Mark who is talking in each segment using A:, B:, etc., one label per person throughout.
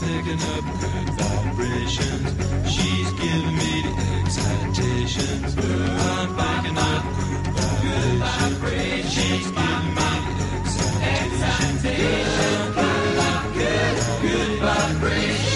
A: picking up good vibrations. She's giving me the excitations. I'm picking up good vibrations. She's giving me the excitations. I'm picking up good, good vibrations.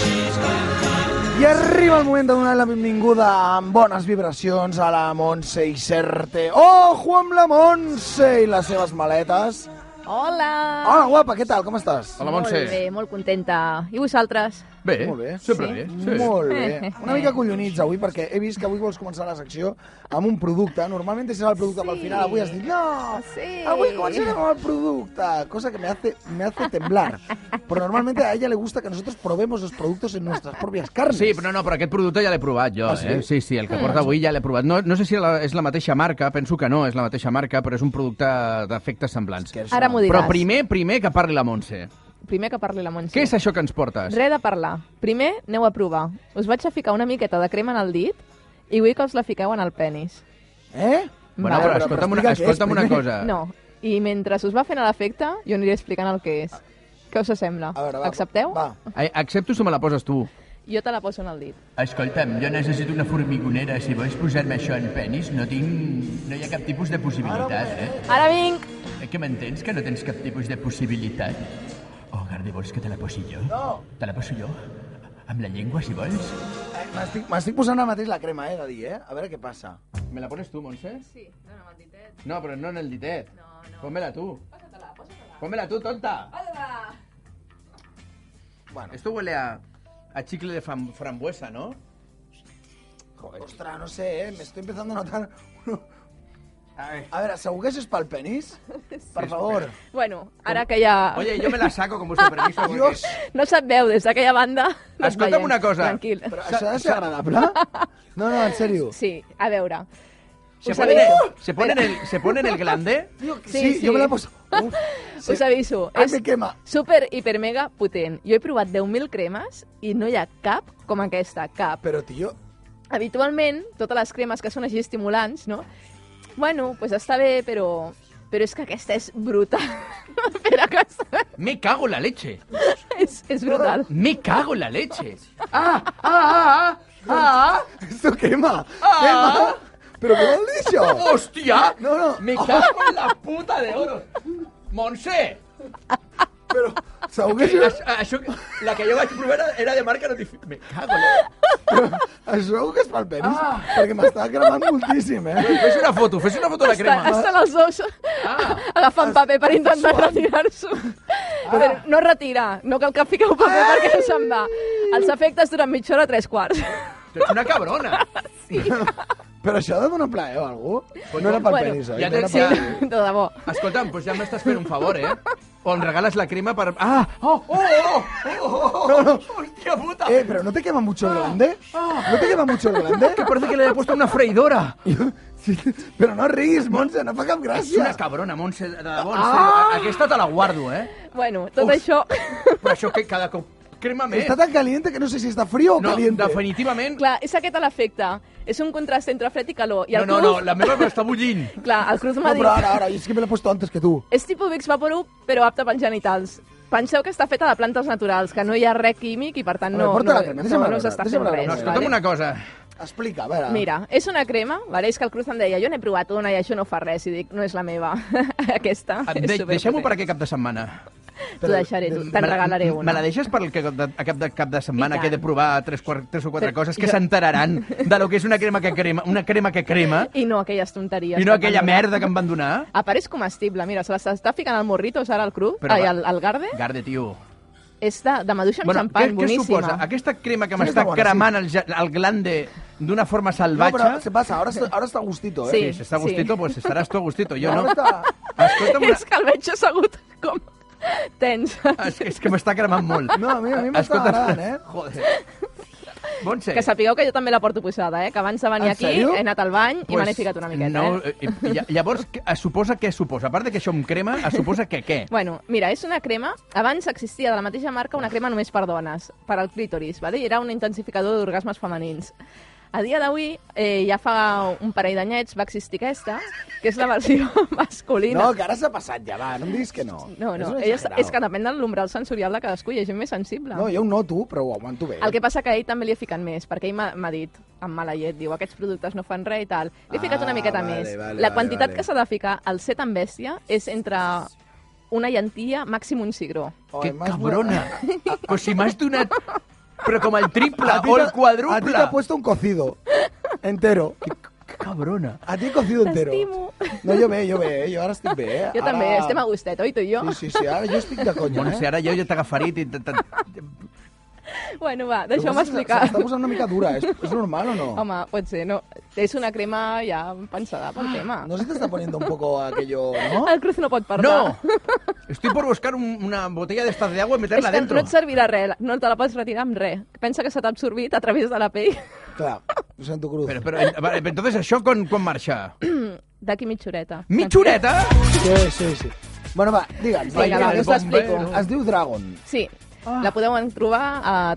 B: I arriba el moment de donar la benvinguda amb bones vibracions a la Montse i Certe. Ojo amb la Montse i les seves maletes.
C: Hola!
B: Hola, guapa, què tal? Com estàs?
D: Hola, Montse.
C: Molt bé, molt contenta. I vosaltres?
D: Bé,
B: Molt bé.
D: sempre
C: Sí?
D: bé. Sí.
B: Molt bé. Una mica collonits avui, perquè he vist que avui vols començar la secció amb un producte. Normalment deixes el producte pel final, avui has dit no,
C: Sí.
B: avui començarem amb el producte, cosa que me hace, me hace temblar. Pero normalmente a ella le gusta que nosotros probemos los productos en nuestras propias carnes.
D: Sí, però no, no, però aquest producte ja l'he provat jo,
B: Ah, sí?
D: eh? Sí, sí, el que porta avui ja l'he provat. No, no sé si la, és la mateixa marca, penso que no, és la mateixa marca, però és un producte d'efectes semblants.
B: Que és-
C: Ara m'ho diràs.
D: Però primer, primer que parli la Montse.
C: Primer que parli la Montse.
D: Què és això que ens portes?
C: Res de parlar. Primer, aneu a provar. Us vaig a ficar una miqueta de crema en el dit i vull que us la fiqueu en el penis.
B: Eh?
D: Bueno,
C: Vale,
D: però
B: però
D: escolta'm una,
B: explica què és
D: escolta'm una
B: primer.
D: cosa.
C: No. I mentre us va fent a l'efecte, jo aniré explicant el que
D: Ah.
C: és. Què us sembla?
B: A veure, va.
C: Accepteu?
B: Va.
D: Eh, Accepto si me la poses tu.
C: Jo te la poso en el dit.
D: Escolta'm, jo necessito una formigonera. Si vols posar-me això en penis, no tinc... No hi ha cap tipus de possibilitat, eh?
C: Ara vinc!
D: Eh, Que m'entens? Que no tens cap tipus de possibilitat? Oh, Gardi, vols que te la posi jo?
B: No.
D: Te la poso jo? Amb la llengua, si vols?
B: Eh, M'estic m'estic posant ara mateix la crema, eh, de dir, eh? A veure què passa.
D: Me la pones tu, Montse?
C: Sí, no, no, el ditet.
D: No, però no en el ditet.
C: No, no.
D: Pónmela tu.
C: Posa-te-la, posa-te-la.
D: Pónmela tu, tonta.
C: Posa-te-la.
B: Bueno,
D: Esto huele a, a chicle de fam- frambuesa, ¿no?
B: ostres, no sé, eh? M'estoy empezando a notar... A veure, segur que això és pel penis? Per favor.
C: Bueno, ara que ja...
D: Oye, yo me la saco con vuestro permiso. porque-
B: Dios,
C: No se't veu des d'aquella banda. No et
D: Escolta'm
C: veiem.
D: una cosa.
C: Tranquil.
B: però això ha de ser agradable? No, no, en sèrio.
C: Sí, a veure.
D: ¿Se
C: Us
D: pone, en
C: aviso,
D: el, se, pone en el, ¿Se pone en el glande?
B: Sí,
C: Sí, sí.
B: jo me la poso... Uf, sí.
C: us aviso.
B: Ai,
C: És
B: me quema.
C: super, hiper, mega potent. Jo he provat 10.000 cremes i no hi ha cap com aquesta, cap.
B: Però, tio,
C: Habitualment, totes les cremes que són així estimulants, no? Bueno, doncs pues està bé, però... Però és que aquesta és brutal. Espera, que està-
D: Me cago en la leche.
C: és, és brutal.
D: Me cago en la leche. Ah, ah, ah, ah,
B: esto quema.
D: Ah.
B: Quema. Però què vol dir això?
D: ah. Hostia.
B: No, no.
D: Me cago en la puta de oro. Montse,
B: Però, segur que això,
D: això, això, la que jo vaig provar era- era de marca notificada. Me cago en la...
B: això segur que és pel penis?
C: Ah.
B: Perquè m'està cremant moltíssim, eh?
D: Fes una foto, fes una foto de la crema.
C: Estan, estan els dos ah. agafant paper per intentar retirar-s'ho. Però no retirar, no cal que fiqueu paper perquè no se'n va. Els efectes duren mitja hora, tres quarts.
D: Tu ets una cabrona.
B: Però això ha de donar plaer a algú? No era pel
C: Bueno,
B: penis, oi?
D: ja
B: No era
D: tens-
B: pel-
D: Ja.
C: De debò.
D: Escolta'm, doncs ja m'estàs fent un favor, eh? O em regales la crema per... Ah! Oh! Oh! Oh! oh, oh, oh, oh. Hòstia puta!
B: Eh, pero ¿no te quema mucho
C: Ah.
B: el grande? ¿No te quema mucho el grande?
D: Que parece que le he puesto una freidora.
B: Sí, pero no riguis, Montse, no fa cap
D: És una
B: gràcia.
D: cabrona, Montse, de debò.
B: Ah!
D: Ah! Aquesta te la guardo, eh?
C: Bueno, tot
D: Uf.
C: això...
D: Però això que cada cop... Crema més.
B: Está tan caliente que no sé si está frío o
D: No,
B: caliente.
D: definitivament...
C: Clar, és aquest l'efecte. És un contrast entre fred i calor. I
D: No,
C: el
D: no, no,
C: Cruz,
D: la meva m'està bullint.
C: Clar, el Cruz
B: No,
C: m'ha
B: pero
C: dit...
B: ahora, ahora, y es que me lo he puesto antes que tú.
C: És tipus Vicks Vaporub, però apte pels genitals. Penseu que està feta de plantes naturals, que no hi ha res químic i, per tant,
B: A veure,
C: no,
B: porta
C: no,
B: la crema,
C: no,
B: deixa'm
C: no us
B: veure,
C: està
B: deixa'm
C: fent
B: veure.
C: res.
D: No, escolta'm
C: vale?
D: una cosa.
B: Explica, a veure.
C: Mira, és una crema, vale? és que el Cruz em deia, jo n'he provat una i això no fa res, i dic, no és la meva, aquesta. és
D: Em De
C: superpotent.
D: Deixem-ho per aquest cap de setmana.
C: T'ho deixaré, tu- te'n
D: Me la-
C: regalaré una.
D: Me la deixes per el que, de, a cap de, cap de setmana
C: I
D: que he de
C: tant.
D: provar tres, quart- tres o quatre
C: Però
D: coses que
C: jo-
D: s'enteraran de lo que és una crema que crema, una crema que crema
C: I no aquelles tonteries.
D: i
C: que
D: no
C: em
D: aquella
C: van donar.
D: merda que em van donar.
C: A part és comestible, mira, se les està ficant al morritos ara al cru,
D: Però
C: ai,
D: va-
C: al, al garde,
D: Garde, tio.
C: és de, de maduixa amb xampany,
D: què, què
C: boníssima.
D: suposa? Aquesta crema que
B: Sí, està
D: m'està
B: bona, sí.
D: cremant el, ja- el glande d'una forma
B: No,
D: salvatge...
B: pero se pasa, ahora está, ahora está a gustito, ¿eh?
C: Sí.
D: Sí, si està a gustito, pues estaràs tu a gustito. Jo
B: Ahora
D: no.
B: está...
D: Escolta'm, una...
C: És que el veig assegut com tens.
D: és, que- és que m'està cremant molt.
B: No, a mi, a mi m'està
D: Escolta'm,
B: agradant, eh?
D: Joder. Montse.
C: Que sapigueu que jo també la porto posada, eh? que abans de venir
B: En
C: aquí
B: sèrio?
C: he anat al bany i
D: Pues
C: me n'he ficat una miqueta.
D: No,
C: eh?
D: eh, lla- llavors, que- es suposa què suposa? A part de que això em crema, es suposa que què?
C: Bueno, mira, és una crema... Abans existia de la mateixa marca una crema només per dones, per al clítoris, vale? i era un intensificador d'orgasmes femenins. A dia d'avui, eh, ja fa un parell d'anyets, va existir aquesta, que és la versió masculina.
B: No, que ara s'ha passat ja, va, no em diguis que no.
C: No, no,
B: un
C: és,
B: exagerado.
C: és que depèn de l'umbral sensorial de cadascú, hi ha gent més sensible.
B: No, jo ho noto, però ho aguanto bé.
C: El que passa que a ell també li he ficat més, perquè ell m'ha m'ha dit, amb mala llet, diu, aquests productes no fan res i tal. Li he ficat
B: Ah,
C: una miqueta
B: vale,
C: més.
B: vale,
C: la
B: vale,
C: quantitat
B: vale.
C: que s'ha de ficar al set amb bèstia és entre una llentia, màxim un cigró.
B: Oi,
D: Que
B: m'has-
D: cabrona. Però si m'has donat... Però com el triple
B: A ti
D: Ah, o
B: te-
D: el
B: A ti
D: quadruple.
B: te ha puesto un cocido entero.
D: Que cabrona.
B: A ti cocido entero.
C: T'estimo.
B: No, jo bé, jo bé, jo ara estic bé. Eh?
C: Jo
B: ara...
C: també, estem a gustet, oi, tu i jo?
B: Sí, sí, sí, ara jo estic de conya,
D: Bueno,
B: eh?
D: si ara jo ja t'agafaré i... t- t-
C: Bueno, va,
B: Lo que
C: deixeu-me
B: passa és que
C: explicar.
B: S'està posant una mica dura, és, és normal o no?
C: Home, pot ser, no. És una crema ja pensada pel tema.
B: Ah, No se te está poniendo un poco aquello, ¿no?
C: El Cruz no pot parlar.
D: No! Estoy por buscar un- una botella de estas de agua y
C: És
D: meterla
C: que
D: dentro.
C: no et servirà res, no te la pots retirar amb res. Pensa que se t'ha absorbit a través de la pell.
B: Claro, lo sento cruz.
D: Però, però, eh, vale, entonces això quan, quan marxa?
C: D'aquí mitja horeta.
D: Mitjoreta?
B: Sí, sí, sí. Bueno, va, digue'ns.
C: Vinga,
D: va,
B: que
D: us
B: es-
D: explico.
B: Es diu Dragon.
C: Sí,
B: Ah.
C: la podeu trobar a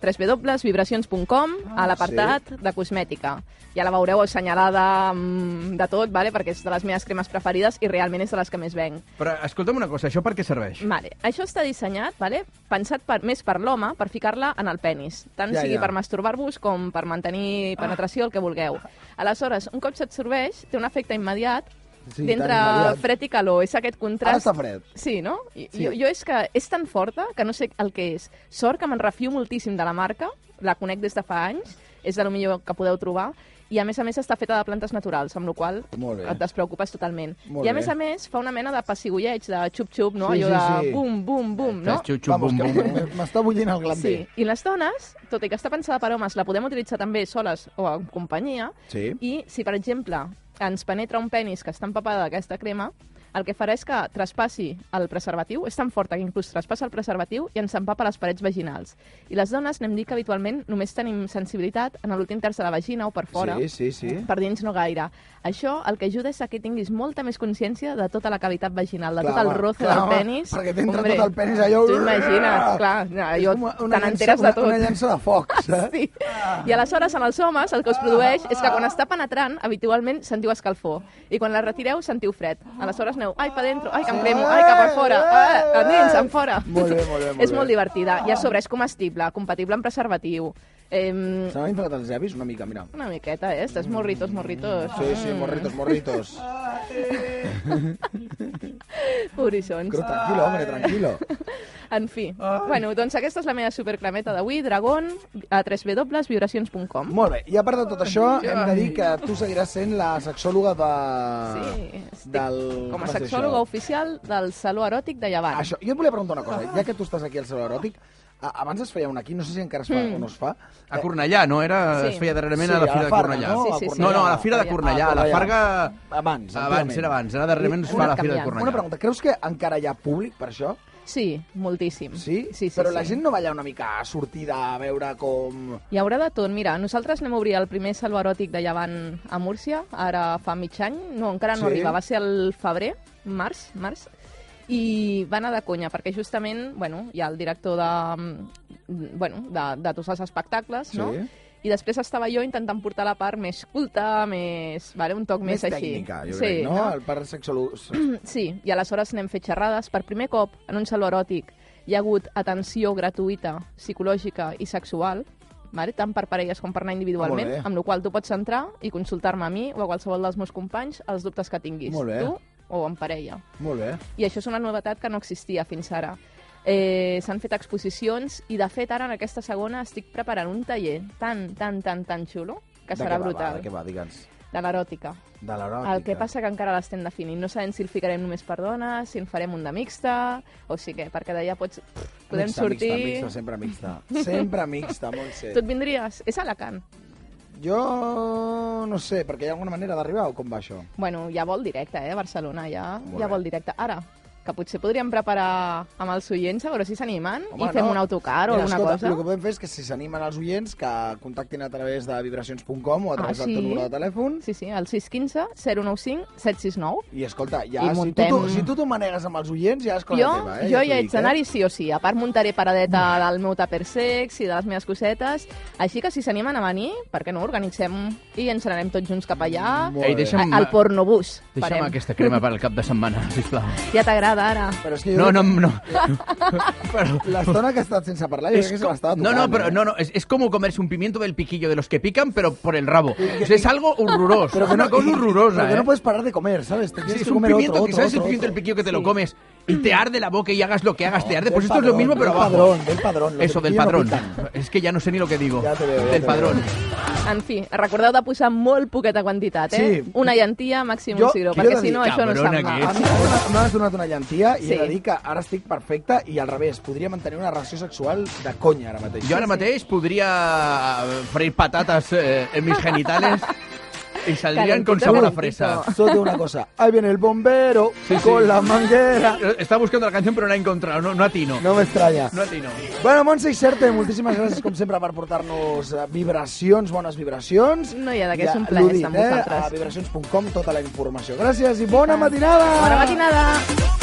C: www.vibracions.com
B: Ah,
C: a l'apartat de cosmètica. Ja la veureu assenyalada mm, de tot, vale? perquè és de les meves cremes preferides i realment és de les que més venc.
D: Però escolta'm una cosa, això per què serveix?
C: Vale. Això està dissenyat, vale? pensat per, més per l'home, per ficar-la en el penis. Tant
B: Ja,
C: ja, sigui
B: ja.
C: per masturbar-vos com per mantenir penetració, el que vulgueu.
B: Ah.
C: Aleshores, un cop s'absorbeix, té un efecte immediat
B: Sí,
C: d'entre
B: tan immediat. Ah,
C: fred i calor. És aquest
B: Ara
C: contrast...
B: està fred.
C: Sí, no? I,
B: Sí.
C: sí. Jo, jo és que és tan forta que no sé el que és. Sort que me'n refio moltíssim de la marca, la conec des de fa anys, és de lo millor que podeu trobar, i a més a més està feta de plantes naturals, amb la qual
B: Molt bé.
C: et despreocupes totalment.
B: Molt
C: I a
B: bé.
C: més a més fa una mena de pessigolleig, de xup-xup, no?
B: Sí,
C: Allò
B: sí,
C: de
B: sí.
C: bum, bum, bum, no?
D: Fes xup, xup,
B: Vamos,
D: bum,
B: que
D: bum, bum.
B: m- m'està bullint el glander.
C: Sí, i les dones, tot i que està pensada per homes, la podem utilitzar també soles o en companyia,
B: Sí.
C: i si, per exemple, ens penetra un penis que està empapada d'aquesta crema, el que farà és que traspassi el preservatiu, és tan forta que inclús traspassa el preservatiu i ens empapa les parets vaginals. I les dones anem dir que habitualment només tenim sensibilitat en l'últim terç de la vagina o per fora,
B: Sí, sí, sí.
C: per dins no gaire. Això el que ajuda és a que tinguis molta més consciència de tota la cavitat vaginal, de
B: Clar,
C: tot el
B: home,
C: roce
B: clar,
C: del
B: home,
C: penis.
B: perquè t'entra
C: Hombre,
B: tot el penis allò- uh!
C: T'ho imagines, clar,
B: És
C: allò,
B: com
C: te n'enteres de
B: una-
C: tot.
B: Una llança de foc, saps?
C: Sí. I aleshores, en els homes, el que us produeix és que quan està penetrant, habitualment sentiu escalfor. I quan la retireu, sentiu fred. Aleshores aneu, ai, pa dentro, ai, que em cremo, ai, cap per fora, ai, endins, en fora.
B: Molt bé, molt bé, molt
C: és molt
B: bé.
C: divertida. I a sobre és comestible, compatible amb preservatiu. Eh,
B: Se m'han inflat els llavis una mica, mira. Mm.
C: una miqueta, eh? Estàs morritos, morritos.
B: Sí, sí, morritos, morritos.
C: Horizons.
B: Però tranquilo, hombre, tranquilo.
C: En fi. Bueno, doncs aquesta és la meva superclameta d'avui, Dragon, a www.vibracions.com.
B: Molt bé, i a part de tot això, hem de dir que tu seguiràs sent la sexòloga de...
C: Sí, estic
B: del...
C: Com a
B: com es diu
C: sexòloga
B: això?
C: oficial del Saló Eròtic de Llevant.
B: Això, jo et volia preguntar una cosa, ja que tu estàs aquí al Saló Eròtic, a- abans es feia un aquí, no sé si encara es fa
C: Mm.
B: o no es fa. eh,
D: A Cornellà, no? Era,
C: Sí.
D: Es feia darrerament
B: Sí,
D: a la
B: a
D: Fira
B: la
D: de
B: Farga,
D: Cornellà.
B: no?
C: Sí, sí, sí.
D: no, no, a la Fira de
C: Ah,
D: Cornellà. A la
B: Cornellà.
D: Farga...
B: Abans,
D: Abans, era abans. Ara darrerament es
C: Una
D: fa la Fira de
C: canviant.
D: Cornellà.
B: Una pregunta, creus que encara hi ha públic per això?
C: Sí, moltíssim.
B: Sí?
C: sí, sí
B: Però la
C: sí.
B: gent no va allà una mica a sortida a veure com...
C: Hi haurà de tot. Mira, nosaltres anem a obrir el primer saló eròtic de llevant a Múrcia, ara fa mig any, no, encara no
B: Sí.
C: arriba, va ser el febrer, març, març, i va anar de conya, perquè justament, bueno, hi ha el director de, mm, bueno, de, de tots els espectacles,
B: Sí.
C: no? I després estava jo intentant portar la part més culta, més... Vale, un toc més,
B: Més
C: així.
B: tècnica, jo crec, no? El part sexòleg...
C: Sí, i aleshores n'hem fet xerrades. Per primer cop, en un saló eròtic, hi ha hagut atenció gratuïta, psicològica i sexual, vale? tant per parelles com per anar individualment,
B: Ah, molt bé.
C: amb la qual tu pots entrar i consultar-me a mi o a qualsevol dels meus companys els dubtes que tinguis,
B: Molt bé.
C: tu o en parella.
B: Molt bé.
C: I això és una novetat que no existia fins ara. Eh, S'han fet exposicions i, de fet, ara en aquesta segona estic preparant un taller tan, tan, tan, tan xulo que
B: De què va,
C: serà
B: Va,
C: brutal,
B: de què va, digue'ns.
C: de l'eròtica.
B: De l'eròtica.
C: El que passa que encara l'estem definint. No sabem si el ficarem només per dones, si en farem un de mixta, o si què, perquè d'allà pots... Pff, podem
B: mixta,
C: sortir...
B: Mixta, mixta, sempre mixta. Sempre mixta, Montse.
C: Tu et vindries? És a Alacant.
B: Jo no sé, perquè hi ha alguna manera d'arribar o com va això?
C: Bueno, ja vol directe, eh, a Barcelona, ja,
B: Molt
C: ja
B: bé.
C: vol directe. Ara, que potser podríem preparar amb els oients, a veure si s'animen, i
B: Home,
C: fem
B: no.
C: un autocar o
B: Mira,
C: alguna
B: escolta,
C: cosa.
B: El que podem fer és que si s'animen els oients que contactin a través de vibracions.com o a
C: Ah,
B: través
C: sí?
B: del teu número de telèfon
C: Sí, sí, al 615 095 769.
B: i escolta, ja,
C: I
B: si,
C: muntem-
B: tu, t'ho- si tu t'ho manegues amb els oients ja és cosa
C: jo,
B: teva, eh?
C: jo
B: t'ho
C: ja
B: dic,
C: haig d'anar-hi sí o sí. A part, muntaré paradeta del meu tupper sex i de les meves cosetes. Així que si s'animen a venir, per què no, organitzem i ens n'anem tots junts cap allà.
B: Molt bé.
D: Ei, eh, deixa'm,
C: Al pornobús.
D: deixa'm
C: farem.
D: aquesta crema per al cap de setmana, sisplau.
C: Ja t'agrada, ara.
B: Però és que jo
D: No,
B: crec
D: no, no. Però,
B: que L'estona que he estat sense parlar jo
D: Es
B: crec que se
D: co-
B: m'estava
D: no,
B: tocant.
D: no, pero
B: eh?
D: no, no, es, es como comerse un pimiento del piquillo de los que pican, pero por el rabo. O sea, es algo horroroso.
B: Pero que
D: una
B: no,
D: cosa horrorosa.
B: Pero que
D: ¿eh?
B: no puedes parar de comer, ¿sabes? Te
D: Sí,
B: tienes
D: es
B: que
D: un
B: comer
D: pimiento,
B: otro,
D: que
B: otro,
D: sabes el
B: otro,
D: pimiento del
B: otro.
D: piquillo que te lo comes y te arde la boca y hagas lo que hagas, te arde.
B: del
D: Pues esto es lo
B: padrón,
D: mismo,
B: del
D: pero abajo.
B: padrón, del padrón, los
D: Eso,
B: de
D: del
B: piquillo no
D: padrón. Es que ya no sé ni lo que digo.
B: Ya te veo, ya
D: del
B: te
D: padrón.
C: En fi, recordeu de posar molt poqueta quantitat, eh?
B: Sí.
C: Una llantia, màxim
B: Jo-
C: un cigró,
B: jo
C: perquè
B: he de
C: si
B: dir,
C: no això no
D: cabrona
C: se'n
B: A
C: va.
D: que
B: mi m'ha donat- m'has donat una llantia i
C: Sí.
B: he de dir que ara estic perfecte i al revés, podria mantenir una relació sexual de conya ara mateix.
D: Yo ahora Mateis podría freír patatas eh, en mis genitales y saldrían con
C: Calentito,
D: sabor a
C: calentito.
D: fresa.
B: Solo tengo una cosa. Ahí viene el bombero
D: Sí, sí.
B: con la manguera.
D: Está buscando la canción pero no la he encontrado, no, no atino.
B: No me extraña.
D: No atino.
B: Bueno, Montse i Certe, moltíssimes gràcies, com sempre, per portar-nos eh, vibracions, bones vibracions.
C: No hi ha de què,
B: Ja
C: és un plaer
B: l'ho
C: estar amb
B: eh?
C: vosaltres.
B: A vibracions.com tota la informació. Gràcies i bona matinada!
C: Bona matinada!